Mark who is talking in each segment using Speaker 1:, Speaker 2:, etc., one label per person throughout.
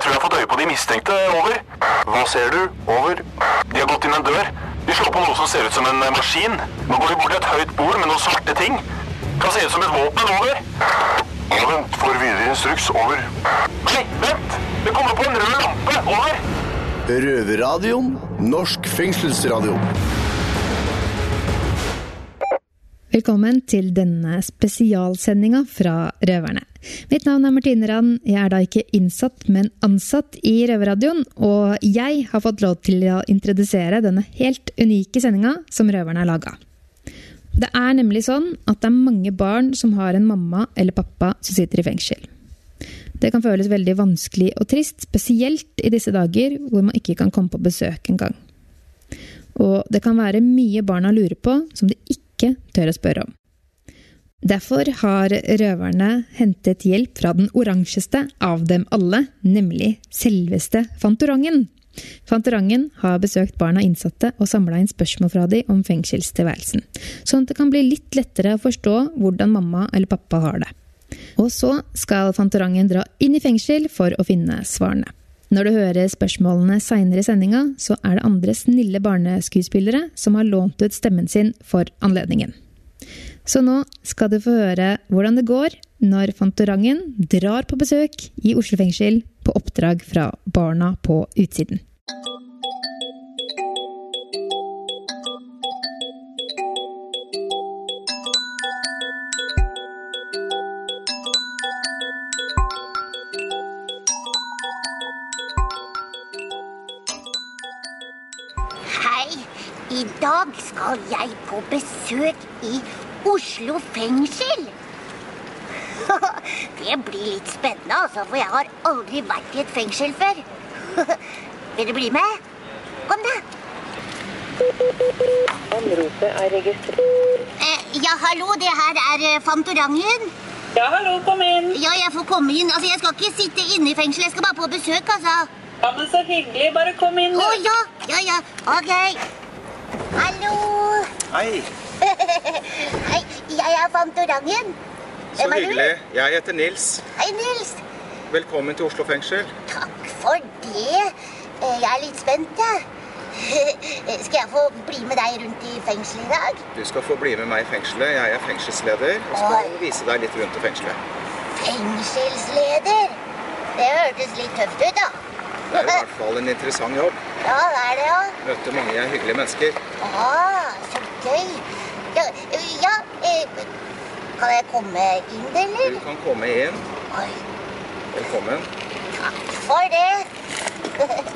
Speaker 1: De mistenkte. Over. Hva ser du? Over. De har gått inn en dør. De slår på noe som ser ut som en eh, maskin. Nå går de bort til et høyt bord med noen svarte ting. Kan se ut som et våpen. Over. Vent, får videre instruks. Over. Nei, vent! Det kommer på en rød lampe. Over.
Speaker 2: Røverradioen. Norsk fengselsradio.
Speaker 3: Velkommen til denne spesialsendinga fra Røverne. Mitt navn er Martine Rand. Jeg er da ikke innsatt, men ansatt i Røverradioen. Og jeg har fått lov til å introdusere denne helt unike sendinga som Røverne har laga. Det er nemlig sånn at det er mange barn som har en mamma eller pappa som sitter i fengsel. Det kan føles veldig vanskelig og trist, spesielt i disse dager hvor man ikke kan komme på besøk engang. Og det kan være mye barna lurer på som de ikke tør å spørre om. Derfor har røverne hentet hjelp fra den oransjeste av dem alle, nemlig selveste Fantorangen. Fantorangen har besøkt barna innsatte og samla inn spørsmål fra de om fengselstilværelsen, sånn at det kan bli litt lettere å forstå hvordan mamma eller pappa har det. Og så skal Fantorangen dra inn i fengsel for å finne svarene. Når du hører spørsmålene seinere i sendinga, så er det andre snille barneskuespillere som har lånt ut stemmen sin for anledningen. Så nå skal du få høre hvordan det går når Fantorangen drar på besøk i Oslo fengsel på oppdrag fra Barna på utsiden.
Speaker 4: Hei, i dag skal jeg på besøk i Oslo fengsel. Det blir litt spennende, altså, for jeg har aldri vært i et fengsel før. Vil du bli med? Kom, da.
Speaker 5: Omropet er registrert.
Speaker 4: Eh, ja, hallo, det her er eh, Fantorangen.
Speaker 5: Ja, hallo, kom inn.
Speaker 4: Ja, jeg får komme inn. Altså, jeg skal ikke sitte inne i fengsel, jeg skal bare på besøk, altså.
Speaker 5: Ja, men så hyggelig. Bare kom inn.
Speaker 4: Å
Speaker 5: du.
Speaker 4: ja, ja, ja. Ok. Hallo.
Speaker 6: Hei,
Speaker 4: Hei, jeg er Fantorangen.
Speaker 6: så
Speaker 4: Hvem er du?
Speaker 6: hyggelig. Jeg heter Nils.
Speaker 4: Hei, Nils.
Speaker 6: Velkommen til Oslo fengsel.
Speaker 4: Takk for det. Eh, Jeg er litt spent, jeg. Eh, Skal jeg få bli med deg rundt i fengselet i dag?
Speaker 6: Du skal få bli med meg i fengselet. Jeg er fengselsleder og skal
Speaker 4: Oi.
Speaker 6: vise deg litt rundt i fengselet.
Speaker 4: Fengselsleder? Det hørtes litt tøft ut, da.
Speaker 6: Det er i hvert fall en interessant jobb.
Speaker 4: Ja, det er det, ja.
Speaker 6: Møte mange hyggelige mennesker.
Speaker 4: Ah, så gøy. Ja, eh, ja eh, Kan jeg komme inn,
Speaker 6: Du
Speaker 4: eller?
Speaker 6: kan komme inn.
Speaker 4: Oi,
Speaker 6: Velkommen.
Speaker 4: takk for det.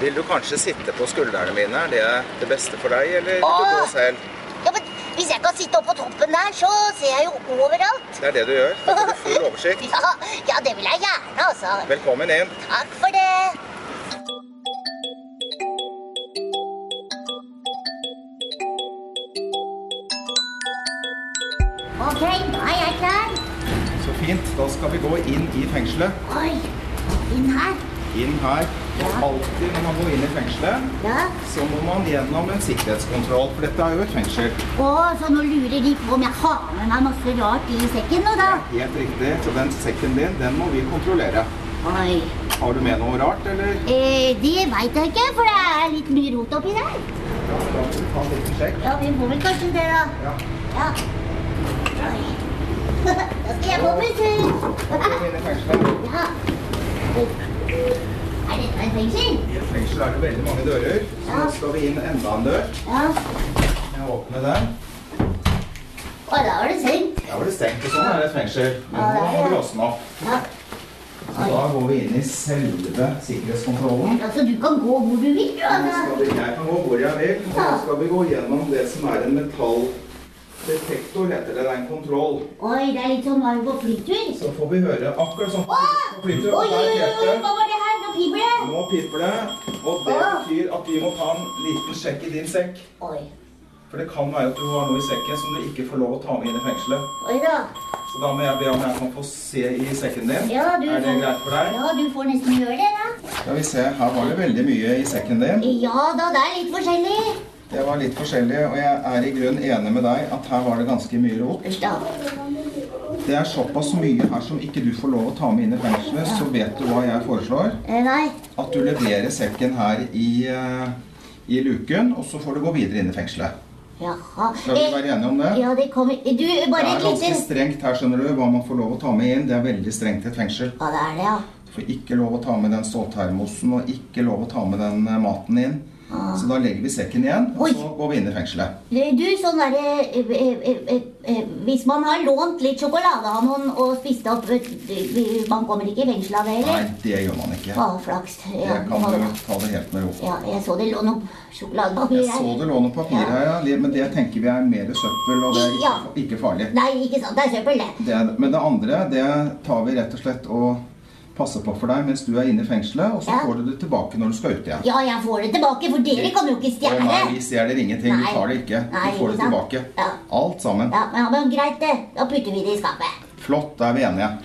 Speaker 6: Vil du kanskje sitte på skuldrene mine? Er det det beste for deg, eller vil du
Speaker 4: Åh.
Speaker 6: gå selv?
Speaker 4: Ja, men Hvis jeg kan sitte oppe på toppen der, så ser jeg jo overalt.
Speaker 6: Det er det du gjør. Da får du full oversikt.
Speaker 4: Ja, ja, det vil jeg gjerne, altså.
Speaker 6: Velkommen inn.
Speaker 4: Takk for det. Ok, da er jeg klar.
Speaker 6: Så fint. Da skal vi gå inn i fengselet.
Speaker 4: Oi, inn her.
Speaker 6: Inn her. Og alltid når man går inn i fengselet,
Speaker 4: Ja.
Speaker 6: så må man gjennom en sikkerhetskontroll. For dette er jo et fengsel.
Speaker 4: Å, så nå lurer de på om jeg har med meg masse rart i sekken nå, da.
Speaker 6: Helt riktig. Så den sekken din, den må vi kontrollere.
Speaker 4: Oi.
Speaker 6: Har du med noe rart, eller?
Speaker 4: Eh, det veit jeg ikke, for det er litt mye rot oppi der.
Speaker 6: Ja, da må du ta en liten sjekk.
Speaker 4: Ja, vi må vel kanskje det, da.
Speaker 6: Ja.
Speaker 4: Ja. Oi. Da skal jeg på besøk.
Speaker 6: Kom inn i fengselet.
Speaker 4: Ja. Er dette et fengsel?
Speaker 6: I et fengsel er det veldig mange dører, så nå skal vi inn enda en dør.
Speaker 4: Ja.
Speaker 6: Jeg åpner den.
Speaker 4: Og da var det seng.
Speaker 6: Der var det stengt, og sånn er det et fengsel. Men nå må vi låse den opp.
Speaker 4: Ja.
Speaker 6: Så da går vi inn i selve sikkerhetskontrollen.
Speaker 4: Altså, du kan gå hvor du vil, du,
Speaker 6: Nå
Speaker 4: altså.
Speaker 6: skal vi, jeg kan gå hvor jeg vil, og så skal vi gå gjennom det som er en metalldetektor, heter det. Det er en kontroll.
Speaker 4: Oi, det er litt sånn varm på flytur.
Speaker 6: Så får vi høre akkurat sånn på flytur.
Speaker 4: Oi,
Speaker 6: og
Speaker 4: oi,
Speaker 6: der
Speaker 4: oi,
Speaker 6: heter
Speaker 4: oi,
Speaker 6: det-
Speaker 4: hva var det her? Nå piper det.
Speaker 6: Nå piper det, og det
Speaker 4: Ah.
Speaker 6: betyr at vi må ta en liten sjekk i din sekk.
Speaker 4: Oi.
Speaker 6: For det kan være at du har noe i sekken som du ikke får lov å ta med inn i fengselet.
Speaker 4: Oi da.
Speaker 6: Så da må jeg be om jeg kan få se i sekken din.
Speaker 4: Ja, du
Speaker 6: er det
Speaker 4: får-
Speaker 6: greit for deg?
Speaker 4: Ja, du får nesten gjøre det, da.
Speaker 6: Skal vi se, her var det veldig mye i sekken din.
Speaker 4: Ja da, det er litt forskjellig.
Speaker 6: Det var litt forskjellig, og jeg er i grunn enig med deg at her var det ganske mye rot.
Speaker 4: Først da.
Speaker 6: det er såpass mye her som ikke du får lov å ta med inn i fengselet, så vet du hva jeg foreslår.
Speaker 4: Eh, Nei.
Speaker 6: At du leverer sekken her i, eh, i luken, og så får du gå videre inn i fengselet.
Speaker 4: Jaha.
Speaker 6: Skal vi
Speaker 4: Eh,
Speaker 6: være enige om det?
Speaker 4: Ja, det kommer Du,
Speaker 6: Det
Speaker 4: bare
Speaker 6: er
Speaker 4: et
Speaker 6: ganske
Speaker 4: lite
Speaker 6: strengt her, skjønner du, hva man får lov å ta med inn. Det er veldig strengt i et fengsel.
Speaker 4: Ja, det er det, ja.
Speaker 6: Du får ikke lov å ta med den ståltermosen, og ikke lov å ta med den eh, maten inn. Så da legger vi sekken igjen, og
Speaker 4: Ah. Oi.
Speaker 6: så går vi inn i fengselet.
Speaker 4: Du, du sånn derre eh, eh, eh, eh, Hvis man har lånt litt sjokolade av noen og spist opp eh, eh, Man kommer ikke i fengsel av det,
Speaker 6: Nei,
Speaker 4: eller?
Speaker 6: det gjør man ikke.
Speaker 4: Å, flaks. Ja,
Speaker 6: Det
Speaker 4: det var
Speaker 6: kan du
Speaker 4: bra.
Speaker 6: ta det helt med ro.
Speaker 4: ja, jeg så det lå noe sjokoladepapir
Speaker 6: Jeg
Speaker 4: her.
Speaker 6: så det lå noe papir her, ja. Det- Men det tenker vi er mer søppel, og det er ikke,
Speaker 4: Ja.
Speaker 6: ikke farlig.
Speaker 4: Nei, ikke sant. Det er søppel, det.
Speaker 6: Det, er- men det andre, det tar vi rett og slett og passer på for deg mens du er inne i fengselet, og så
Speaker 4: Ja.
Speaker 6: får du det tilbake når du skal ut igjen.
Speaker 4: Ja, jeg får det tilbake, for dere kan jo ikke
Speaker 6: Å,
Speaker 4: stjele.
Speaker 6: Nei, vi stjeler ingenting. Vi
Speaker 4: Nei.
Speaker 6: tar det ikke.
Speaker 4: Nei,
Speaker 6: Vi får det
Speaker 4: ikke sant?
Speaker 6: tilbake.
Speaker 4: Ja.
Speaker 6: Alt sammen.
Speaker 4: Ja, men, ja, men greit, det. Da putter vi det i skapet.
Speaker 6: Flott, da er vi enige.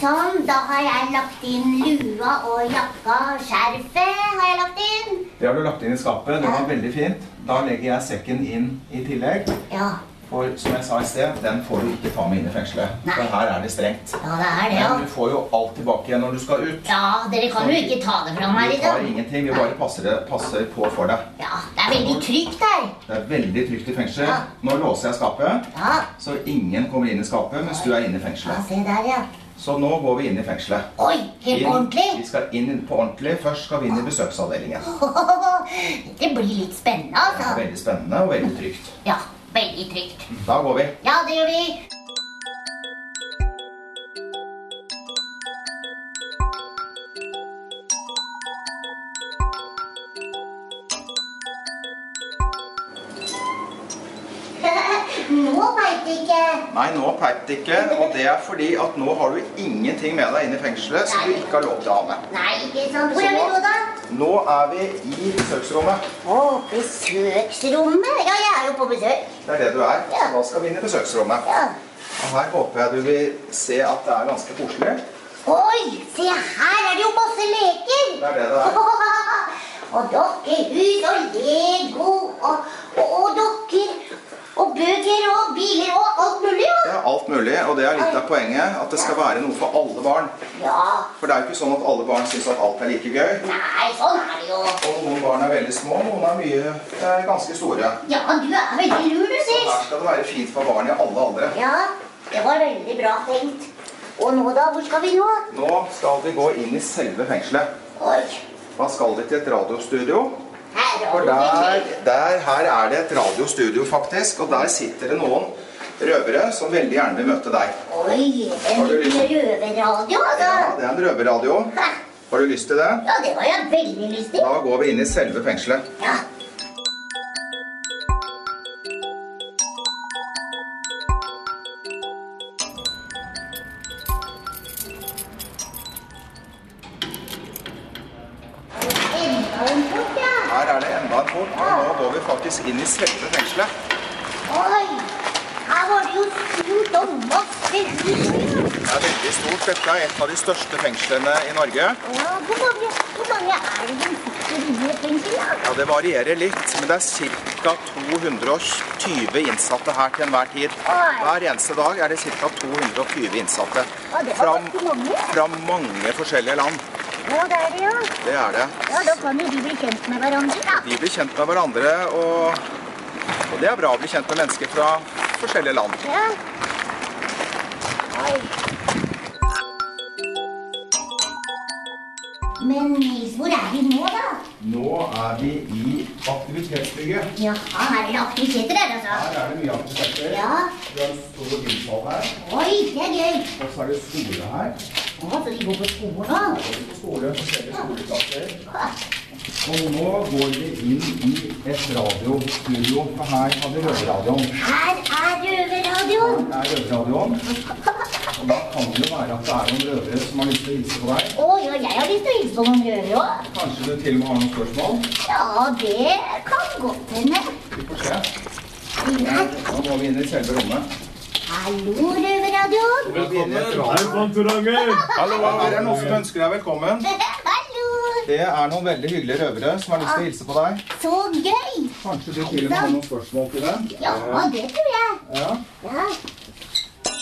Speaker 4: Sånn, da har jeg lagt inn lua og jakka. Skjerfet har jeg lagt inn.
Speaker 6: Det har du lagt inn i skapet. Det var veldig fint. Da legger jeg sekken inn i tillegg.
Speaker 4: Ja,
Speaker 6: For som jeg sa i sted, den får du ikke ta med inn i fengselet.
Speaker 4: Nei.
Speaker 6: For her er det strengt.
Speaker 4: ja det er det, ja.
Speaker 6: Men du får jo alt tilbake igjen når du skal ut.
Speaker 4: Ja, dere kan jo ikke ta det fra meg liksom.
Speaker 6: Vi
Speaker 4: i
Speaker 6: tar
Speaker 4: dag.
Speaker 6: ingenting, vi bare passer, det- passer på for deg.
Speaker 4: Ja, det er veldig trygt der.
Speaker 6: Det er veldig trygt i fengsel.
Speaker 4: Ja.
Speaker 6: Nå låser jeg skapet,
Speaker 4: Ja,
Speaker 6: så ingen kommer inn i skapet mens du er inne i
Speaker 4: ja
Speaker 6: fengselet.
Speaker 4: se der, ja.
Speaker 6: Så nå går vi inn i fengselet.
Speaker 4: Oi, helt
Speaker 6: Inn-
Speaker 4: på
Speaker 6: Vi
Speaker 4: ordentlig.
Speaker 6: skal inn på ordentlig. Først skal vi inn i besøksavdelingen.
Speaker 4: Det blir litt spennende,
Speaker 6: Det er
Speaker 4: altså.
Speaker 6: veldig spennende og veldig trygt.
Speaker 4: Ja, veldig trygt.
Speaker 6: Da går vi.
Speaker 4: Ja, det gjør vi. Nå veit jeg ikke.
Speaker 6: Nei, nå peip det ikke, og det er fordi at nå har du ingenting med deg inne i fengselet som du ikke har lov til å ha med.
Speaker 4: Nei, ikke sant. Hvor er vi nå, da?
Speaker 6: Nå er vi i besøksrommet.
Speaker 4: Å, besøksrommet. Ja, jeg er jo på besøk.
Speaker 6: Det er det du er.
Speaker 4: Ja.
Speaker 6: Så da skal vi inn i besøksrommet.
Speaker 4: Ja.
Speaker 6: Og her håper jeg du vil se at det er ganske koselig.
Speaker 4: Oi, se her er det jo masse leker.
Speaker 6: Det er det det er.
Speaker 4: og dokkehus og Lego og, og, og dokker og bøker og biler og alt mulig.
Speaker 6: Det
Speaker 4: jo.
Speaker 6: er alt mulig, og det er litt av poenget. At det skal være noe for alle barn.
Speaker 4: Ja.
Speaker 6: For det er jo ikke sånn at alle barn syns at alt er like gøy.
Speaker 4: Nei, sånn er det jo.
Speaker 6: Og noen barn er veldig små, noen er mye eh, ganske store.
Speaker 4: Ja, du er veldig lur, du,
Speaker 6: Og her
Speaker 4: Sils.
Speaker 6: skal det være fint for barn i alle aldre.
Speaker 4: Ja, det var veldig bra tenkt. Og nå, da? Hvor skal vi nå?
Speaker 6: Nå skal vi gå inn i selve fengselet.
Speaker 4: Oi.
Speaker 6: Da skal vi til et radiostudio.
Speaker 4: Her har
Speaker 6: For
Speaker 4: du
Speaker 6: der,
Speaker 4: det.
Speaker 6: der, her er det et radiostudio, faktisk. Og der sitter det noen røvere som veldig gjerne vil møte deg.
Speaker 4: Oi, en
Speaker 6: Har du
Speaker 4: liten røverradio, altså.
Speaker 6: Ja, det er en røverradio.
Speaker 4: Hæ?
Speaker 6: Har du lyst til det?
Speaker 4: Ja, det var jeg veldig lyst til.
Speaker 6: Da går vi inn i selve fengselet.
Speaker 4: Ja. Enda en port, ja.
Speaker 6: Her er det enda en port, og nå går vi faktisk inn i selve fengselet.
Speaker 4: Oi, her var det jo stort og masse hus.
Speaker 6: Det er veldig stort. Dette er et av de største fengslene i Norge.
Speaker 4: Ja, hvor mange, hvor mange er det som sitter inne i et fengsel, da?
Speaker 6: Ja, Det varierer litt, men det er ca. 220 innsatte her til enhver tid. Hver eneste dag er det ca. 220 innsatte
Speaker 4: Ja, det var
Speaker 6: fra,
Speaker 4: ganske mange.
Speaker 6: fra mange forskjellige land.
Speaker 4: Ja, det er det, ja.
Speaker 6: Det er det.
Speaker 4: Ja, da kan jo de bli kjent med hverandre, da.
Speaker 6: De blir kjent med hverandre, og, og det er bra å bli kjent med mennesker fra forskjellige land.
Speaker 4: Ja. Men Nils, hvor er vi nå, da?
Speaker 6: Nå er vi i aktivitetsbygget.
Speaker 4: Ja, her er det aktiviteter her, altså.
Speaker 6: Her er det mye aktiviteter.
Speaker 4: Ja.
Speaker 6: Vi har en stor gymsal her,
Speaker 4: Oi, det er gøy.
Speaker 6: og så er det skole her.
Speaker 4: Å, så de går på skolen nå?
Speaker 6: Og på skole, forskjellige skoleklasser. Og nå går vi inn i et radiostudio, for her har vi røverradioen.
Speaker 4: Her er røverradioen.
Speaker 6: Det er røverradioen. Og da kan det jo være at det er noen røvere som har lyst til å hilse på deg.
Speaker 4: Å, ja, jeg har lyst til å hilse på noen røvere òg.
Speaker 6: Kanskje du til og med har noen spørsmål?
Speaker 4: Ja, det kan godt hende.
Speaker 6: Vi får se.
Speaker 4: Nei.
Speaker 6: Nå må vi inn i selve rommet.
Speaker 4: Hallo, røverradioen.
Speaker 7: Velkommen til Ranger!
Speaker 6: Hallo, her er noen som ønsker deg velkommen.
Speaker 4: Hallo.
Speaker 6: Det er noen veldig hyggelige røvere som har lyst til å hilse på deg.
Speaker 4: Så gøy.
Speaker 6: Kanskje du til og med har noen spørsmål til dem?
Speaker 4: Ja, det tror jeg. Ja.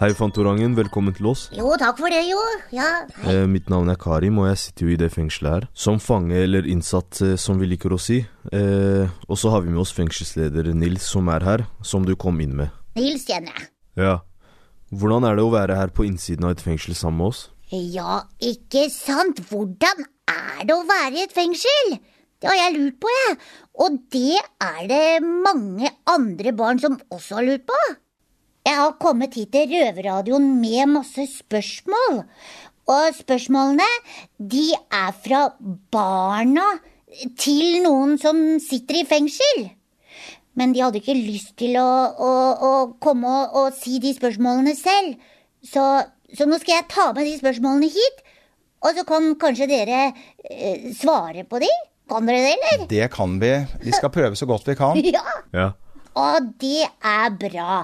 Speaker 8: Hei, Fantorangen. Velkommen til oss.
Speaker 4: Jo, takk for det, jo. Ja.
Speaker 8: Eh, mitt navn er Karim, og jeg sitter jo i det fengselet her. Som fange eller innsatt, eh, som vi liker å si. Eh, og så har vi med oss fengselsleder Nils, som er her, som du kom inn med.
Speaker 4: Nils kjenner jeg.
Speaker 8: Ja. Hvordan er det å være her på innsiden av et fengsel sammen med oss?
Speaker 4: Ja, ikke sant? Hvordan er det å være i et fengsel? Det har jeg lurt på, jeg. Og det er det mange andre barn som også har lurt på. Jeg har kommet hit til Røverradioen med masse spørsmål. Og spørsmålene, de er fra barna til noen som sitter i fengsel. Men de hadde ikke lyst til å, å, å komme og, og si de spørsmålene selv. Så, så nå skal jeg ta med de spørsmålene hit, og så kan kanskje dere eh, svare på de? Kan dere det, eller?
Speaker 6: Det kan vi. Vi skal prøve så godt vi kan.
Speaker 4: Ja!
Speaker 8: Ja.
Speaker 4: Og det er bra,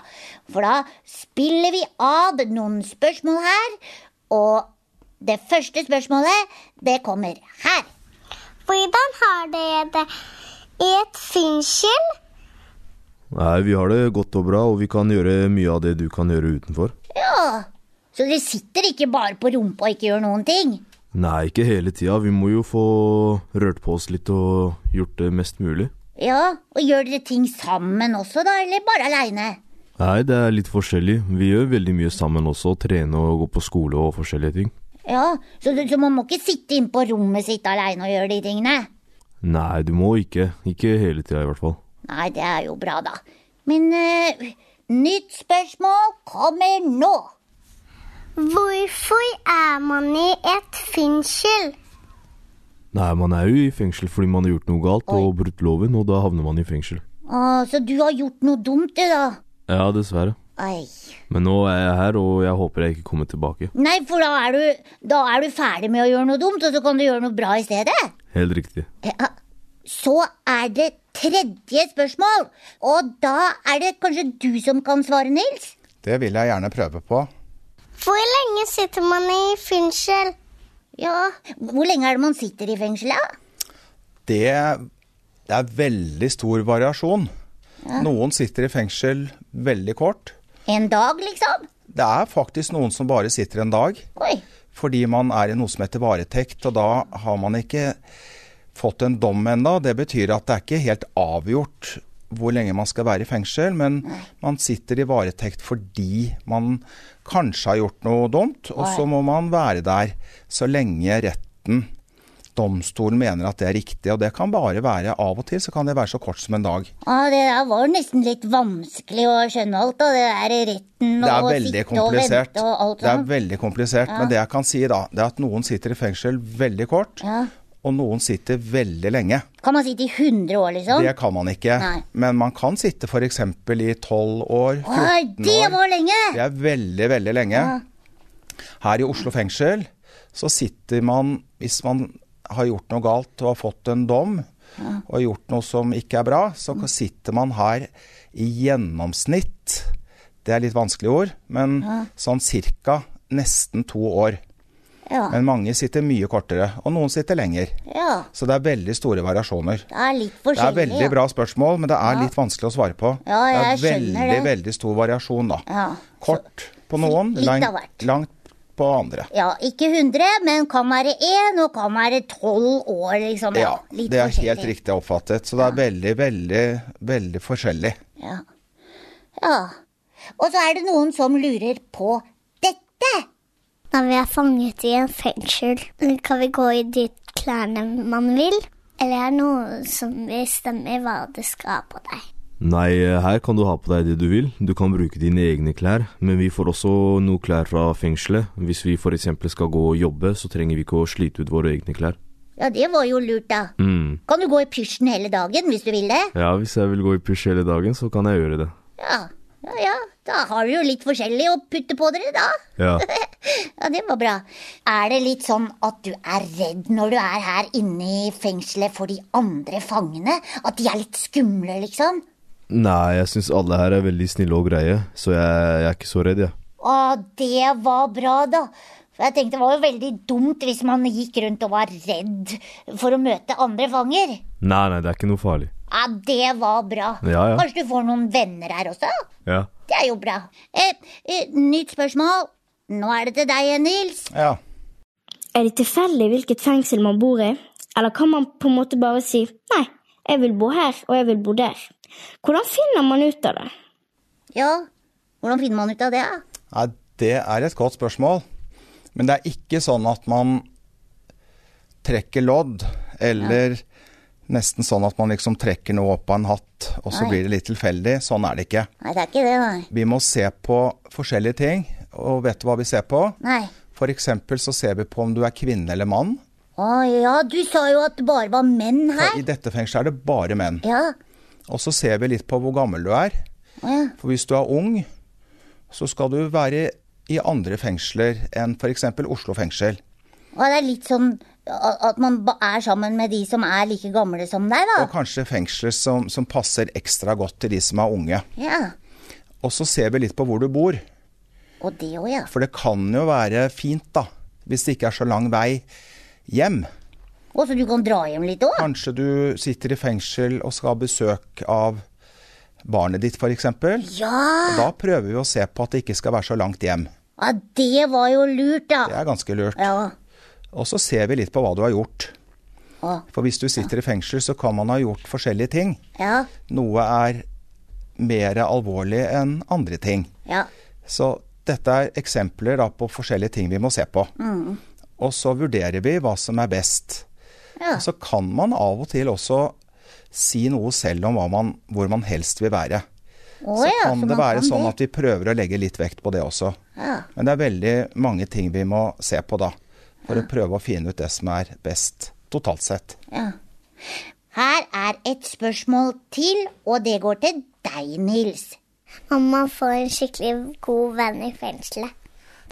Speaker 4: for da spiller vi av noen spørsmål her. Og det første spørsmålet, det kommer her.
Speaker 9: Hvordan har dere det i et fengsel?
Speaker 8: Nei, vi har det godt og bra, og vi kan gjøre mye av det du kan gjøre utenfor.
Speaker 4: Ja, Så dere sitter ikke bare på rumpa og ikke gjør noen ting?
Speaker 8: Nei, ikke hele tida. Vi må jo få rørt på oss litt og gjort det mest mulig.
Speaker 4: Ja, og gjør dere ting sammen også, da, eller bare aleine?
Speaker 8: Nei, det er litt forskjellig. Vi gjør veldig mye sammen også. Trene og gå på skole og forskjellige ting.
Speaker 4: Ja, så, du- så man må ikke sitte inne på rommet sitt aleine og gjøre de tingene?
Speaker 8: Nei, du må ikke. Ikke hele tida, i hvert fall.
Speaker 4: Nei, det er jo bra, da. Men eh, nytt spørsmål kommer nå.
Speaker 9: Hvorfor er man i et fengsel?
Speaker 8: Nei, man er jo i fengsel fordi man har gjort noe galt og brutt loven, og da havner man i fengsel.
Speaker 4: Å, Ah, så du har gjort noe dumt, du, da.
Speaker 8: Ja, dessverre.
Speaker 4: Ai.
Speaker 8: Men nå er jeg her, og jeg håper jeg ikke kommer tilbake.
Speaker 4: Nei, for da er, du, da er du ferdig med å gjøre noe dumt, og så kan du gjøre noe bra i stedet.
Speaker 8: Helt riktig.
Speaker 4: Ja. Så er det tredje spørsmål, og da er det kanskje du som kan svare, Nils?
Speaker 10: Det vil jeg gjerne prøve på.
Speaker 9: Hvor lenge sitter man i fengsel?
Speaker 4: Ja. Hvor lenge er det man sitter i fengselet?
Speaker 6: Det er veldig stor variasjon. Noen sitter i fengsel veldig kort.
Speaker 4: En dag, liksom?
Speaker 6: Det er faktisk noen som bare sitter en dag,
Speaker 4: Oi.
Speaker 6: fordi man er i noe som heter varetekt, og da har man ikke fått en dom ennå. Det betyr at det er ikke helt avgjort hvor lenge man skal være i fengsel, men man sitter i varetekt fordi man kanskje har gjort noe dumt, og så må man være der så lenge retten, domstolen, mener at det er riktig. Og det kan bare være av og til, så kan det være så kort som en dag.
Speaker 4: Ja, det der var nesten litt vanskelig å skjønne alt, da. Det der i retten
Speaker 6: Det er
Speaker 4: og
Speaker 6: veldig
Speaker 4: sitte og
Speaker 6: komplisert.
Speaker 4: vente og alt
Speaker 6: Det er
Speaker 4: sånt.
Speaker 6: veldig komplisert, men det jeg kan si da, det er at noen sitter i fengsel veldig kort,
Speaker 4: Ja.
Speaker 6: og noen sitter veldig lenge.
Speaker 4: Kan man sitte i 100 år, liksom?
Speaker 6: Det kan man ikke.
Speaker 4: Nei.
Speaker 6: Men man kan sitte f.eks. i 12 år, 14
Speaker 4: Oi, det
Speaker 6: år.
Speaker 4: var lenge!
Speaker 6: Det er veldig, veldig lenge. Her i Oslo fengsel så sitter man, hvis man har gjort noe galt og har fått en dom, og gjort noe som ikke er bra, så
Speaker 4: Mm.
Speaker 6: sitter man her i gjennomsnitt Det er litt vanskelige ord, men sånn cirka nesten to år.
Speaker 4: Ja.
Speaker 6: Men mange sitter mye kortere, og noen sitter lenger.
Speaker 4: ja.
Speaker 6: Så det er veldig store variasjoner.
Speaker 4: Det er litt
Speaker 6: Det er
Speaker 4: forskjellig.
Speaker 6: veldig bra spørsmål, men det er litt vanskelig å svare på.
Speaker 4: Ja, jeg
Speaker 6: det er
Speaker 4: skjønner
Speaker 6: veldig,
Speaker 4: det.
Speaker 6: veldig stor variasjon, da.
Speaker 4: Ja.
Speaker 6: Kort på noen,
Speaker 4: litt av
Speaker 6: langt,
Speaker 4: hvert.
Speaker 6: langt på andre.
Speaker 4: Ja, ikke 100, men kan være 1, og kan være 12 år, liksom.
Speaker 6: Ja,
Speaker 4: litt
Speaker 6: det er helt
Speaker 4: forskjellig.
Speaker 6: riktig oppfattet. Så det er veldig, veldig, veldig forskjellig.
Speaker 4: Ja. ja. Og så er det noen som lurer på dette.
Speaker 9: Når vi er fanget i en fengsel, kan vi gå i de klærne man vil? Eller er det noen som bestemmer hva du skal ha på deg?
Speaker 8: Nei, her kan du ha på deg det du vil. Du kan bruke dine egne klær, men vi får også noe klær fra fengselet. Hvis vi f.eks. skal gå og jobbe, så trenger vi ikke å slite ut våre egne klær.
Speaker 4: Ja, det var jo lurt, da.
Speaker 8: Mm.
Speaker 4: Kan du gå i pysjen hele dagen hvis du vil det?
Speaker 8: Ja, hvis jeg vil gå i pysj hele dagen, så kan jeg gjøre det.
Speaker 4: Ja, ja, ja. Da har dere jo litt forskjellig å putte på dere, da.
Speaker 8: Ja.
Speaker 4: Ja, det var bra. Er det litt sånn at du er redd når du er her inne i fengselet for de andre fangene? At de er litt skumle, liksom?
Speaker 8: Nei, jeg syns alle her er veldig snille og greie, så jeg, jeg er ikke så redd, jeg.
Speaker 4: Å, det var bra, da. For jeg tenkte det var jo veldig dumt hvis man gikk rundt og var redd for å møte andre fanger.
Speaker 8: Nei, nei, det er ikke noe farlig.
Speaker 4: Ja, det var bra.
Speaker 8: Ja, ja.
Speaker 4: Kanskje du får noen venner her også?
Speaker 8: Ja.
Speaker 4: Det er jo bra. Eh, eh, nytt spørsmål. Nå er det til deg, Nils.
Speaker 6: Ja.
Speaker 11: Er det tilfeldig hvilket fengsel man bor i? Eller kan man på en måte bare si nei, jeg vil bo her og jeg vil bo der? Hvordan finner man ut av det?
Speaker 4: Ja, hvordan finner man ut av det? da?
Speaker 6: Nei, det er et godt spørsmål. Men det er ikke sånn at man trekker lodd, eller nesten sånn at man liksom trekker noe opp av en hatt, og så
Speaker 4: Nei.
Speaker 6: blir det litt tilfeldig. Sånn er det ikke.
Speaker 4: Nei, det er ikke det, nei.
Speaker 6: Vi må se på forskjellige ting, og vet du hva vi ser på?
Speaker 4: Nei.
Speaker 6: F.eks. så ser vi på om du er kvinne eller mann.
Speaker 4: Å ja, du sa jo at det bare var menn her.
Speaker 6: I dette fengselet er det bare menn.
Speaker 4: Ja.
Speaker 6: Og så ser vi litt på hvor gammel du er.
Speaker 4: Å ja.
Speaker 6: For hvis du er ung, så skal du være i andre fengsler enn f.eks. Oslo fengsel.
Speaker 4: Og det er litt sånn a- at man ba- er sammen med de som er like gamle som deg, da.
Speaker 6: Og kanskje fengsler som, som passer ekstra godt til de som er unge.
Speaker 4: Ja.
Speaker 6: Og så ser vi litt på hvor du bor.
Speaker 4: Og det òg, ja.
Speaker 6: For det kan jo være fint, da, hvis det ikke er så lang vei hjem.
Speaker 4: Å, så du kan dra hjem litt òg?
Speaker 6: Kanskje du sitter i fengsel og skal ha besøk av barnet ditt, f.eks.
Speaker 4: Ja.
Speaker 6: Da prøver vi å se på at det ikke skal være så langt hjem.
Speaker 4: ja! Det var jo lurt, da.
Speaker 6: Det er ganske lurt.
Speaker 4: Ja.
Speaker 6: Og så ser vi litt på hva du har gjort.
Speaker 4: Å,
Speaker 6: For hvis du sitter i fengsel, så kan man ha gjort forskjellige ting.
Speaker 4: ja.
Speaker 6: Noe er mer alvorlig enn andre ting.
Speaker 4: Ja.
Speaker 6: Så dette er eksempler da på forskjellige ting vi må se på.
Speaker 4: Mm.
Speaker 6: Og så vurderer vi hva som er best.
Speaker 4: Ja.
Speaker 6: Og så kan man av og til også si noe selv om hva man, hvor man helst vil være.
Speaker 4: Å,
Speaker 6: så
Speaker 4: ja,
Speaker 6: kan
Speaker 4: så
Speaker 6: det
Speaker 4: man
Speaker 6: være
Speaker 4: kan
Speaker 6: sånn
Speaker 4: det.
Speaker 6: at vi prøver å legge litt vekt på det også.
Speaker 4: Ja.
Speaker 6: Men det er veldig mange ting vi må se på da, for å prøve å finne ut det som er best totalt sett.
Speaker 4: Ja. Her er et spørsmål til, og det går til deg, Nils.
Speaker 9: Om man får en skikkelig god venn i fengselet.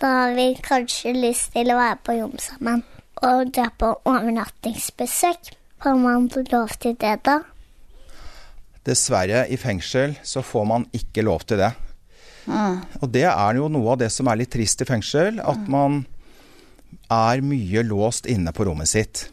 Speaker 9: Da har vi kanskje lyst til å være på jobb sammen og dra på overnattingsbesøk. Får man lov til det, da?
Speaker 6: Dessverre, i fengsel så får man ikke lov til det.
Speaker 4: Mm.
Speaker 6: Og det er jo noe av det som er litt trist i fengsel,
Speaker 4: Ah.
Speaker 6: at man er mye låst inne på rommet sitt.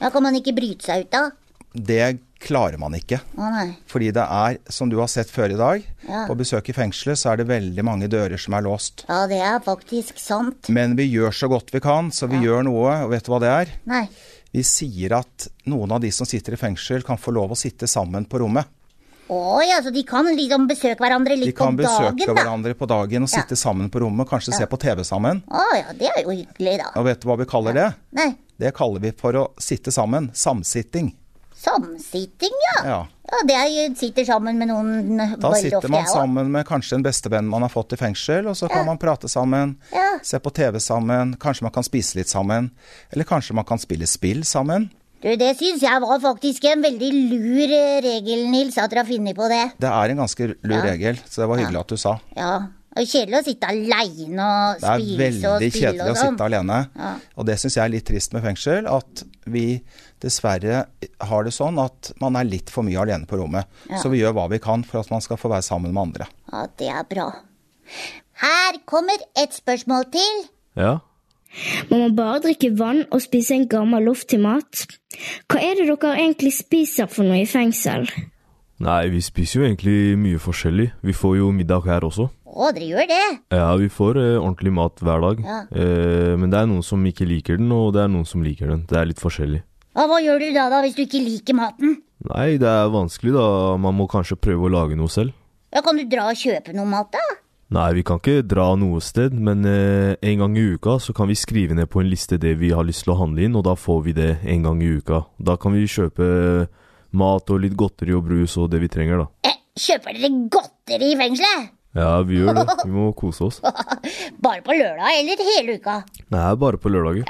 Speaker 4: Da kan man ikke bryte seg ut, da.
Speaker 6: Det klarer man ikke.
Speaker 4: Å nei.
Speaker 6: Fordi det er, som du har sett før i dag,
Speaker 4: Ja.
Speaker 6: på besøk i fengselet så er det veldig mange dører som er låst.
Speaker 4: Ja, det er faktisk sant.
Speaker 6: Men vi gjør så godt vi kan, så vi gjør noe, og vet du hva det er?
Speaker 4: Nei.
Speaker 6: Vi sier at noen av de som sitter i fengsel kan få lov å sitte sammen på rommet.
Speaker 4: Å ja, så de kan liksom besøke hverandre
Speaker 6: De
Speaker 4: litt på
Speaker 6: kan
Speaker 4: dagen,
Speaker 6: besøke
Speaker 4: da.
Speaker 6: hverandre på dagen og sitte sammen på rommet, kanskje se på TV sammen.
Speaker 4: Å ja, det er jo hyggelig, da.
Speaker 6: Og vet du hva vi kaller det?
Speaker 4: Nei,
Speaker 6: Det kaller vi for å sitte sammen. Samsitting.
Speaker 4: samsitting, ja.
Speaker 6: Ja.
Speaker 4: Ja, det er, jeg sitter sammen med noen
Speaker 6: Da
Speaker 4: veldig
Speaker 6: sitter
Speaker 4: ofte,
Speaker 6: man
Speaker 4: jeg også.
Speaker 6: sammen med kanskje en bestevenn man har fått i fengsel, og så kan man prate sammen,
Speaker 4: Ja.
Speaker 6: se på TV sammen, kanskje man kan spise litt sammen, eller kanskje man kan spille spill sammen.
Speaker 4: Du, det syns jeg var faktisk en veldig lur eh, regel, Nils, at dere har funnet på det.
Speaker 6: Det er en ganske lur regel, så det var hyggelig at du sa.
Speaker 4: Ja. Det er kjedelig å sitte aleine og
Speaker 6: Det er
Speaker 4: spise og
Speaker 6: veldig
Speaker 4: spille
Speaker 6: kjedelig å
Speaker 4: og sånn.
Speaker 6: sitte alene,
Speaker 4: Ja.
Speaker 6: og det syns jeg er litt trist med fengsel, at vi dessverre har det sånn at man er litt for mye alene på rommet.
Speaker 4: Ja.
Speaker 6: Så vi gjør hva vi kan for at man skal få være sammen med andre.
Speaker 4: Ja, det er bra. Her kommer et spørsmål til.
Speaker 8: Ja.
Speaker 11: Må man bare drikke vann og spise en gammel loff til mat? Hva er det dere egentlig spiser for noe i fengsel?
Speaker 8: Nei, vi spiser jo egentlig mye forskjellig. Vi får jo middag her også.
Speaker 4: Å, dere gjør det?
Speaker 8: Ja, vi får eh, ordentlig mat hver dag.
Speaker 4: Ja.
Speaker 8: Eh, men det er noen som ikke liker den, og det er noen som liker den. Det er litt forskjellig.
Speaker 4: Ja, hva gjør du da, da, hvis du ikke liker maten?
Speaker 8: Nei, det er vanskelig, da. Man må kanskje prøve å lage noe selv.
Speaker 4: Ja, Kan du dra og kjøpe noe mat, da?
Speaker 8: Nei, vi kan ikke dra noe sted, men eh, en gang i uka så kan vi skrive ned på en liste det vi har lyst til å handle inn, og da får vi det en gang i uka. Da kan vi kjøpe eh, mat og litt godteri og brus og det vi trenger, da.
Speaker 4: Eh, kjøper dere godteri i fengselet?
Speaker 8: Ja, vi gjør det. Vi må kose oss.
Speaker 4: Bare på lørdag eller hele uka?
Speaker 8: Det er bare på lørdager.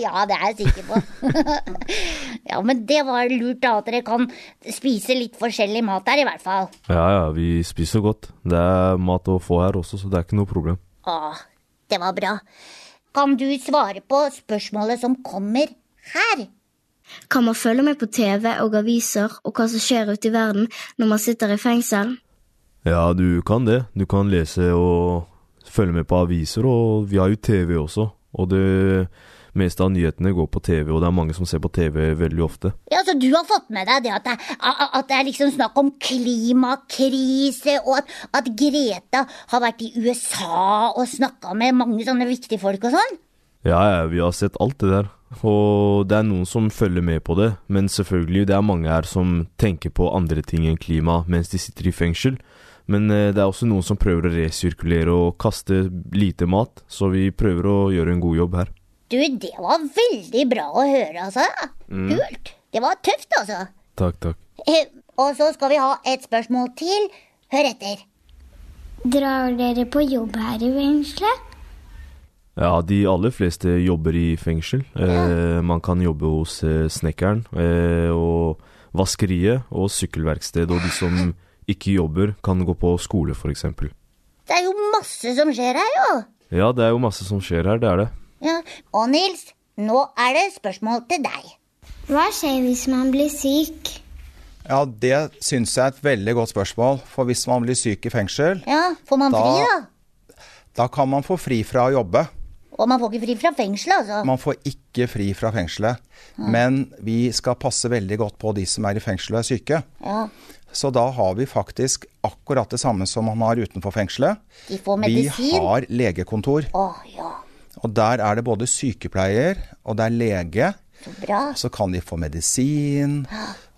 Speaker 4: ja, det er jeg sikker på. ja, men det var lurt, da, at dere kan spise litt forskjellig mat her, i hvert fall.
Speaker 8: Ja, ja, vi spiser godt. Det er mat å få her også, så det er ikke noe problem.
Speaker 4: Å, det var bra. Kan du svare på spørsmålet som kommer her?
Speaker 11: Kan man følge med på TV og aviser og hva som skjer ute i verden når man sitter i fengsel?
Speaker 8: Ja, du kan det. Du kan lese og følge med på aviser, og vi har jo TV også. Og det meste av nyhetene går på TV, og det er mange som ser på TV veldig ofte.
Speaker 4: Ja, så du har fått med deg det at det, er- at det er liksom snakk om klimakrise, og at, at Greta har vært i USA og snakka med mange sånne viktige folk og sånn?
Speaker 8: Ja, ja, vi har sett alt det der. Og det er noen som følger med på det, men selvfølgelig, det er mange her som tenker på andre ting enn klima mens de sitter i fengsel. Men eh, det er også noen som prøver å resirkulere og kaste lite mat, så vi prøver å gjøre en god jobb her.
Speaker 4: Du, det var veldig bra å høre, altså.
Speaker 8: Mm.
Speaker 4: Kult. Det var tøft, altså.
Speaker 8: Takk, takk.
Speaker 4: Eh, Og så skal vi ha et spørsmål til. Hør etter.
Speaker 9: Drar dere på jobb her i fengselet?
Speaker 8: Ja, de aller fleste jobber i fengsel. Eh, man kan jobbe hos eh, snekkeren eh, og vaskeriet og sykkelverksted, og de som ikke jobber, kan gå på skole, f.eks.
Speaker 4: Det er jo masse som skjer her, jo.
Speaker 8: Ja, det er jo masse som skjer her, det er det.
Speaker 4: Ja. Og Nils, nå er det spørsmål til deg.
Speaker 9: Hva skjer hvis man blir syk?
Speaker 6: Ja, det syns jeg er et veldig godt spørsmål. For hvis man blir syk i fengsel,
Speaker 4: Ja, Får man fri,
Speaker 6: Da-
Speaker 4: da?
Speaker 6: da kan man få fri fra å jobbe.
Speaker 4: Og man får ikke fri fra fengselet, altså.
Speaker 6: Man får ikke fri fra fengselet. Men vi skal passe veldig godt på de som er i fengsel og er syke.
Speaker 4: Ja,
Speaker 6: Så da har vi faktisk akkurat det samme som man har utenfor fengselet.
Speaker 4: De får
Speaker 6: Vi
Speaker 4: medisin.
Speaker 6: har legekontor.
Speaker 4: Å, ja.
Speaker 6: Og der er det både sykepleier og det er lege.
Speaker 4: Så bra.
Speaker 6: Så kan de få medisin,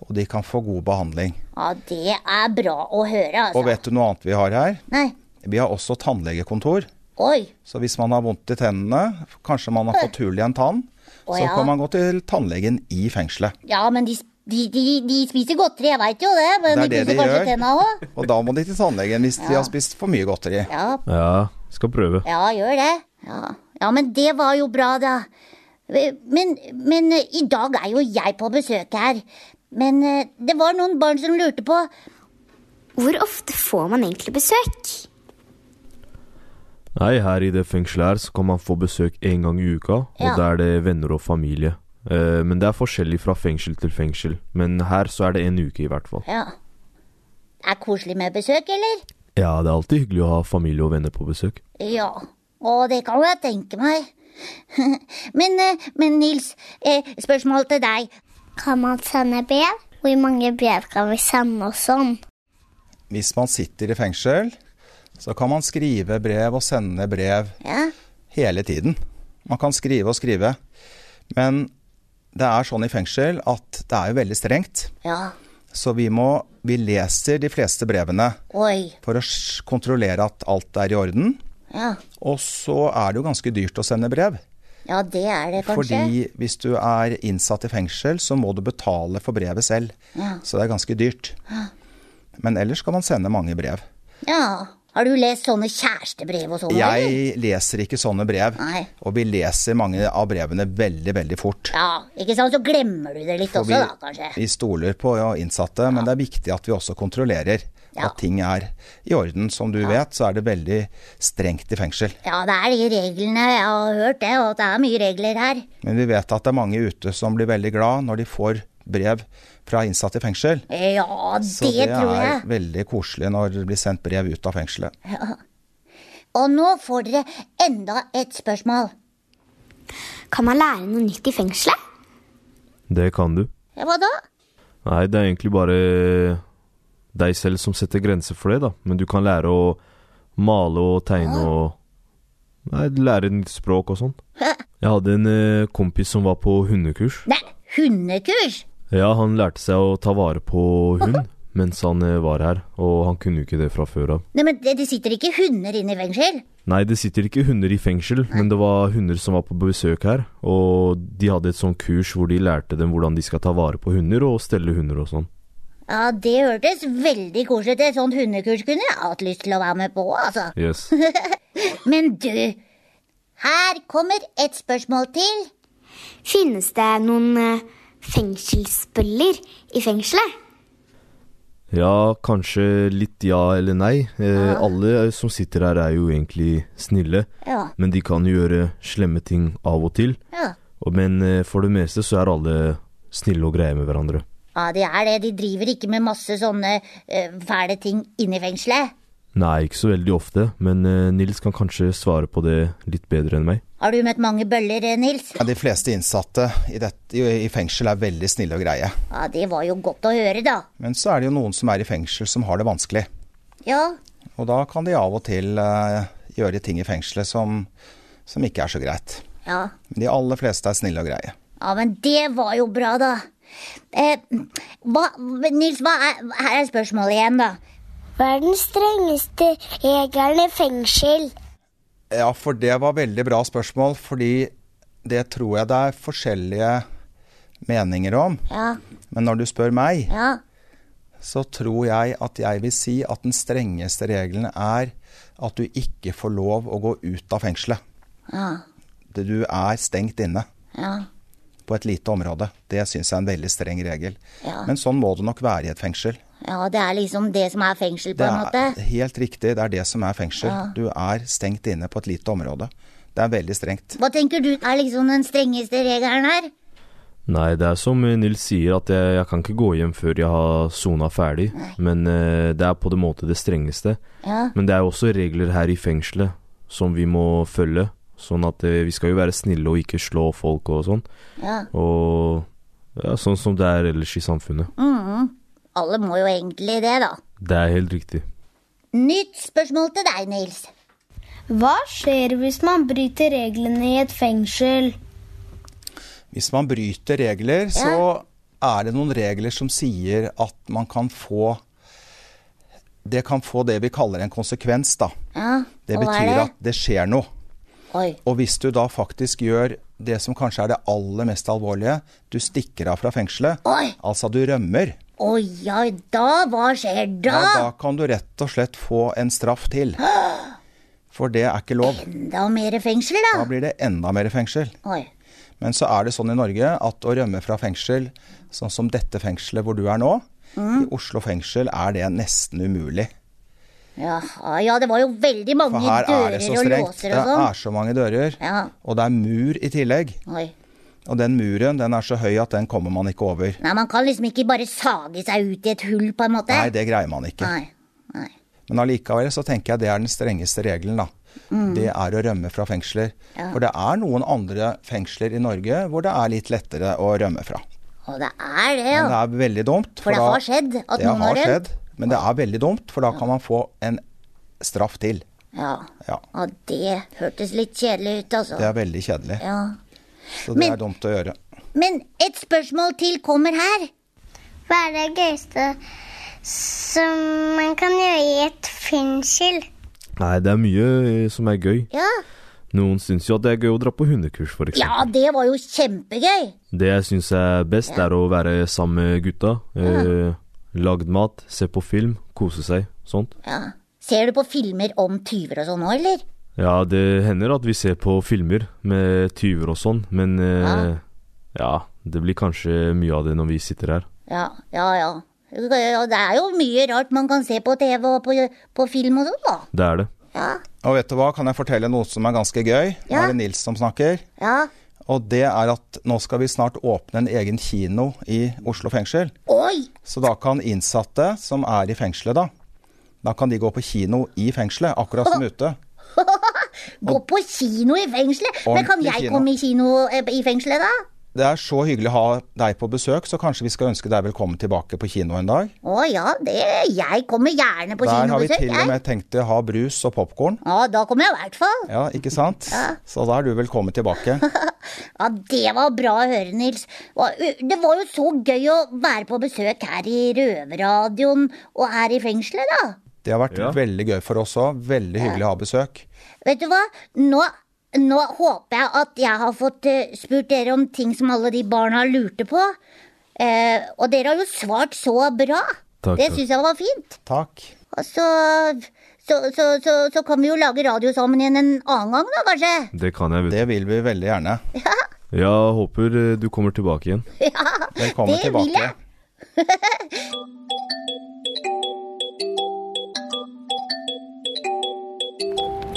Speaker 6: og de kan få god behandling.
Speaker 4: Ja, det er bra å høre, altså.
Speaker 6: Og vet du noe annet vi har her?
Speaker 4: Nei.
Speaker 6: Vi har også tannlegekontor.
Speaker 4: Oi.
Speaker 6: Så hvis man har vondt i tennene, kanskje man har fått hull i en tann,
Speaker 4: Å,
Speaker 6: så
Speaker 4: ja.
Speaker 6: kan man gå til tannlegen i fengselet.
Speaker 4: Ja, men de, de, de, de spiser godteri, jeg veit jo det. Men
Speaker 6: Det er det
Speaker 4: de
Speaker 6: de gjør.
Speaker 4: Tenna også.
Speaker 6: Og da må de til tannlegen hvis de har spist for mye godteri.
Speaker 4: Ja,
Speaker 8: Ja, skal prøve.
Speaker 4: ja, gjør det. Ja. ja, men det var jo bra, da. Men, men eh, i dag er jo jeg på besøk her. Men eh, det var noen barn som lurte på
Speaker 11: Hvor ofte får man egentlig besøk?
Speaker 8: Nei, her i det fengselet her så kan man få besøk én gang i uka, og
Speaker 4: Ja.
Speaker 8: da er det venner og familie. Eh, men det er forskjellig fra fengsel til fengsel. Men her så er det en uke, i hvert fall.
Speaker 4: Ja. Det er koselig med besøk, eller?
Speaker 8: Ja, det er alltid hyggelig å ha familie og venner på besøk.
Speaker 4: Ja, og det kan jeg tenke meg. men, eh, men Nils, eh, spørsmål til deg.
Speaker 9: Kan man sende brev? Hvor mange brev kan vi sende og sånn?
Speaker 6: Hvis man sitter i fengsel, så kan man skrive brev og sende brev
Speaker 4: Ja.
Speaker 6: hele tiden. Man kan skrive og skrive. Men det er sånn i fengsel at det er jo veldig strengt.
Speaker 4: Ja.
Speaker 6: Så vi må Vi leser de fleste brevene
Speaker 4: Oi.
Speaker 6: for å s- kontrollere at alt er i orden.
Speaker 4: Ja.
Speaker 6: Og så er det jo ganske dyrt å sende brev.
Speaker 4: ja, det er det kanskje.
Speaker 6: Fordi hvis du er innsatt i fengsel, så må du betale for brevet selv.
Speaker 4: Ja.
Speaker 6: Så det er ganske dyrt. Men ellers kan man sende mange brev.
Speaker 4: Ja. Har du lest sånne kjærestebrev og sånn? eller?
Speaker 6: Jeg leser ikke sånne brev.
Speaker 4: Nei.
Speaker 6: Og vi leser mange av brevene veldig, veldig fort.
Speaker 4: Ja, ikke sant? Så glemmer du det litt
Speaker 6: For
Speaker 4: også, da, kanskje.
Speaker 6: vi stoler på ja, innsatte, men det er viktig at vi også kontrollerer
Speaker 4: Ja.
Speaker 6: at ting er i orden. Som du vet, så er det veldig strengt i fengsel.
Speaker 4: Ja, det er de reglene. Jeg har hørt det, og at det er mye regler her.
Speaker 6: Men vi vet at det er mange ute som blir veldig glad når de får brev fra innsatte i fengsel.
Speaker 4: Ja, det,
Speaker 6: Så det
Speaker 4: tror jeg.
Speaker 6: er veldig koselig når det blir sendt brev ut av fengselet.
Speaker 4: Og nå får dere enda et spørsmål.
Speaker 11: Kan man lære noe nytt i fengselet?
Speaker 8: Det kan du.
Speaker 4: Ja, hva da?
Speaker 8: Nei, det er egentlig bare deg selv som setter grenser for det, da. Men du kan lære å male og tegne og Nei, lære nytt språk og sånt. Jeg hadde en eh, kompis som var på hundekurs.
Speaker 4: Nei, hundekurs?
Speaker 8: Ja, han lærte seg å ta vare på hund mens han eh, var her, og han kunne jo ikke det fra før av.
Speaker 4: Nei, men det, det sitter ikke hunder inne i fengsel.
Speaker 8: Nei, det sitter ikke hunder i fengsel, men det var hunder som var på besøk her, og de hadde et sånt kurs hvor de lærte dem hvordan de skal ta vare på hunder og stelle hunder og sånn.
Speaker 4: Ja, det hørtes veldig koselig ut. Et sånt hundekurs kunne jeg hatt lyst til å være med på, altså.
Speaker 8: Yes.
Speaker 4: Men du, her kommer et spørsmål til.
Speaker 11: Finnes det noen eh, fengselsbøller i fengselet?
Speaker 8: Ja, kanskje litt ja eller nei. Eh, alle som sitter her er jo egentlig snille,
Speaker 4: Ja.
Speaker 8: men de kan jo gjøre slemme ting av og til.
Speaker 4: Ja.
Speaker 8: Og- Men eh, for det meste så er alle snille og greie med hverandre.
Speaker 4: Ja, de er det. De driver ikke med masse sånne eh, fæle ting inne i fengselet.
Speaker 8: Nei, ikke så veldig ofte, men eh, Nils kan kanskje svare på det litt bedre enn meg.
Speaker 4: Har du møtt mange bøller, eh, Nils?
Speaker 6: Ja, De fleste innsatte i, dette, i i fengsel er veldig snille og greie.
Speaker 4: Ja, det var jo godt å høre, da.
Speaker 6: Men så er det jo noen som er i fengsel som har det vanskelig.
Speaker 4: Ja,
Speaker 6: Og da kan de av og til eh, gjøre ting i fengselet som, som ikke er så greit.
Speaker 4: ja.
Speaker 6: Men de aller fleste er snille og greie.
Speaker 4: Ja, men det var jo bra, da. Eh, hva, Nils, hva er, her er spørsmålet igjen, da.
Speaker 9: Hva er den strengeste regelen i fengsel?
Speaker 6: Ja, for det var veldig bra spørsmål, fordi det tror jeg det er forskjellige meninger om.
Speaker 4: Ja,
Speaker 6: Men når du spør meg,
Speaker 4: ja.
Speaker 6: så tror jeg at jeg vil si at den strengeste regelen er at du ikke får lov å gå ut av fengselet.
Speaker 4: Ja,
Speaker 6: Du er stengt inne
Speaker 4: ja.
Speaker 6: på et lite område. Det syns jeg er en veldig streng regel.
Speaker 4: Ja.
Speaker 6: Men sånn må det nok være i et fengsel.
Speaker 4: ja det er liksom det som er fengsel, på
Speaker 6: Det
Speaker 4: en
Speaker 6: er
Speaker 4: måte.
Speaker 6: helt riktig, det er det som er fengsel.
Speaker 4: Ja.
Speaker 6: Du er stengt inne på et lite område. Det er veldig strengt.
Speaker 4: Hva tenker du er liksom den strengeste regelen her?
Speaker 8: Nei, det er som eh, Nils sier, at jeg, jeg kan ikke gå hjem før jeg har sona ferdig. Men eh, det er på en måte det strengeste.
Speaker 4: Ja.
Speaker 8: Men det er jo også regler her i fengselet som vi må følge. Sånn at eh, vi skal jo være snille og ikke slå folk og sånn.
Speaker 4: Ja.
Speaker 8: Og ja, sånn som det er ellers i samfunnet.
Speaker 4: Mhm. Alle må jo egentlig det, da.
Speaker 8: Det er helt riktig.
Speaker 4: Nytt spørsmål til deg, Nils.
Speaker 9: Hva skjer hvis man bryter reglene i et fengsel?
Speaker 6: Hvis man bryter regler, så er det noen regler som sier at man kan få Det kan få det vi kaller en konsekvens, da.
Speaker 4: Ja,
Speaker 6: Det
Speaker 4: og hva
Speaker 6: betyr
Speaker 4: er det?
Speaker 6: at det skjer noe.
Speaker 4: Oi.
Speaker 6: Og hvis du da faktisk gjør det som kanskje er det aller mest alvorlige, du stikker av fra fengselet,
Speaker 4: Oi.
Speaker 6: altså du rømmer,
Speaker 4: Oi, oi, da, hva skjer da?
Speaker 6: ja, da kan du rett og slett få en straff til. For det er ikke lov.
Speaker 4: Enda mer fengsel, da.
Speaker 6: Da blir det enda mer fengsel.
Speaker 4: Oi.
Speaker 6: Men så er det sånn i Norge at å rømme fra fengsel, sånn som dette fengselet hvor du er nå,
Speaker 4: Mm.
Speaker 6: i Oslo fengsel er det nesten umulig.
Speaker 4: Jaha, ja, det var jo veldig mange
Speaker 6: For her er det
Speaker 4: dører
Speaker 6: så
Speaker 4: og
Speaker 6: strengt.
Speaker 4: låser
Speaker 6: Det
Speaker 4: og sånn.
Speaker 6: er så mange dører.
Speaker 4: Ja,
Speaker 6: Og det er mur i tillegg.
Speaker 4: oi.
Speaker 6: Og den muren den er så høy at den kommer man ikke over.
Speaker 4: Nei, man kan liksom ikke bare sage seg ut i et hull, på en måte.
Speaker 6: Nei, det greier man ikke.
Speaker 4: Nei, nei.
Speaker 6: Men allikevel så tenker jeg det er den strengeste regelen, da. Det er å rømme fra fengsler.
Speaker 4: Mm. Ja.
Speaker 6: For det er noen andre fengsler i Norge hvor det er litt lettere å rømme fra.
Speaker 4: Og det er det,
Speaker 6: Men det
Speaker 4: ja.
Speaker 6: er veldig dumt.
Speaker 4: For det
Speaker 6: da-
Speaker 4: har skjedd at
Speaker 6: det
Speaker 4: noen har
Speaker 6: har
Speaker 4: rømt.
Speaker 6: skjedd. Men det er veldig dumt, for da kan man få en straff til.
Speaker 4: Ja.
Speaker 6: Ja.
Speaker 4: ja, det hørtes litt kjedelig ut, altså.
Speaker 6: Det er veldig kjedelig.
Speaker 4: Ja.
Speaker 6: Så det
Speaker 4: Men-
Speaker 6: er dumt å gjøre.
Speaker 4: Men et spørsmål til kommer her.
Speaker 9: Hva er det gøyeste som man kan gjøre i et fengsel?
Speaker 8: Nei, det er mye eh, som er gøy.
Speaker 4: Ja,
Speaker 8: Noen syns jo at det er gøy å dra på hundekurs, f.eks.
Speaker 4: ja det var jo kjempegøy.
Speaker 8: Det jeg syns er best, er å være sammen med gutta. Eh, lagd mat, se på film, kose seg. Sånt.
Speaker 4: Ja. Ser du på filmer om tyver og sånn nå, eller?
Speaker 8: Ja, det hender at vi ser på filmer med tyver og sånn, men eh, ja, det blir kanskje mye av det når vi sitter her.
Speaker 4: Ja, ja, ja. Ja, Det er jo mye rart man kan se på TV og på, på film og sånn, da.
Speaker 8: Det er det.
Speaker 4: Ja,
Speaker 6: Og vet du hva, kan jeg fortelle noe som er ganske gøy? Nå
Speaker 4: Ja.
Speaker 6: er det Nils som snakker.
Speaker 4: ja.
Speaker 6: Og det er at nå skal vi snart åpne en egen kino i Oslo fengsel.
Speaker 4: Oi!
Speaker 6: Så da kan innsatte som er i fengselet, da, da kan de gå på kino i fengselet, akkurat som ute.
Speaker 4: Gå på kino i fengselet? Men kan
Speaker 6: Ordentlig
Speaker 4: jeg
Speaker 6: kino.
Speaker 4: komme i kino eh, i fengselet, da?
Speaker 6: Det er så hyggelig å ha deg på besøk, så kanskje vi skal ønske deg velkommen tilbake på kino en dag.
Speaker 4: Å ja, det, jeg kommer gjerne på
Speaker 6: Der har vi
Speaker 4: kinobesøk.
Speaker 6: til og
Speaker 4: jeg.
Speaker 6: med tenkt å ha brus og popkorn.
Speaker 4: Ja, da kommer jeg i hvert fall.
Speaker 6: Ja, ikke sant? Så da er du velkommen tilbake.
Speaker 4: Ja, Det var bra å høre, Nils. Og, uh, Det var jo så gøy å være på besøk her i Røverradioen og her i fengselet, da.
Speaker 6: Det har vært veldig gøy for oss òg. Veldig hyggelig å ha besøk.
Speaker 4: Vet du hva? Nå, nå håper jeg at jeg har fått eh, spurt dere om ting som alle de barna lurte på. Eh, og dere har jo svart så bra.
Speaker 8: Takk,
Speaker 4: det
Speaker 8: takk.
Speaker 4: syns jeg var fint.
Speaker 6: Takk.
Speaker 4: Og så så, så, så så kan vi jo lage radio sammen igjen en annen gang, da, kanskje?
Speaker 8: Det kan jeg, vet du.
Speaker 6: Det vil vi veldig gjerne.
Speaker 8: Jeg håper eh, du kommer tilbake igjen.
Speaker 4: Ja,
Speaker 6: Velkommen
Speaker 4: det vil
Speaker 6: tilbake.
Speaker 4: jeg.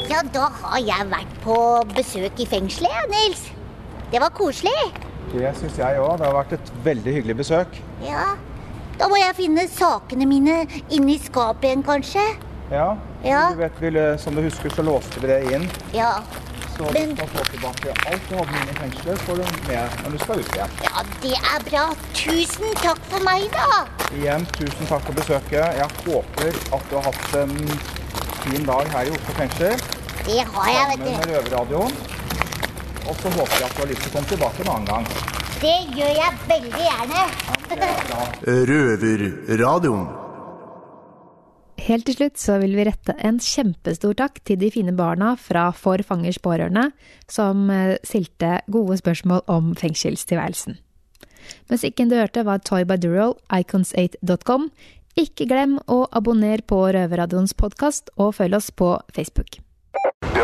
Speaker 4: Ja, da har jeg vært på besøk i fengselet, jeg, Nils. Det var koselig.
Speaker 6: Det syns jeg òg. Det har vært et veldig hyggelig besøk.
Speaker 4: Ja. Da må jeg finne sakene mine inni skapet igjen, kanskje.
Speaker 6: Ja.
Speaker 4: Ja.
Speaker 6: Du vet, vi, lø- som du husker, så låste vi det inn.
Speaker 4: Ja.
Speaker 6: Så du skal få tilbake alt du hadde inne i fengselet, får du med når du skal ut igjen.
Speaker 4: Ja, det er bra. Tusen takk for meg, da.
Speaker 6: Igjen, tusen takk for besøket. Jeg håper at du har hatt en fin dag her i Oslo fengsel.
Speaker 4: Det har jeg,
Speaker 6: Sammen med
Speaker 4: vet du.
Speaker 6: Røverradioen. Og så håper jeg at du har lyst til å komme tilbake en annen gang.
Speaker 4: Det gjør jeg veldig gjerne.
Speaker 2: Røverradioen.
Speaker 3: Helt til slutt så vil vi rette en kjempestor takk til de fine barna fra For fangers pårørende, som eh, stilte gode spørsmål om fengselstilværelsen. Musikken du hørte var Toy by Dural, icons8.com. Ikke glem å abonner på Røverradioens podkast, og følg oss på Facebook.
Speaker 1: Det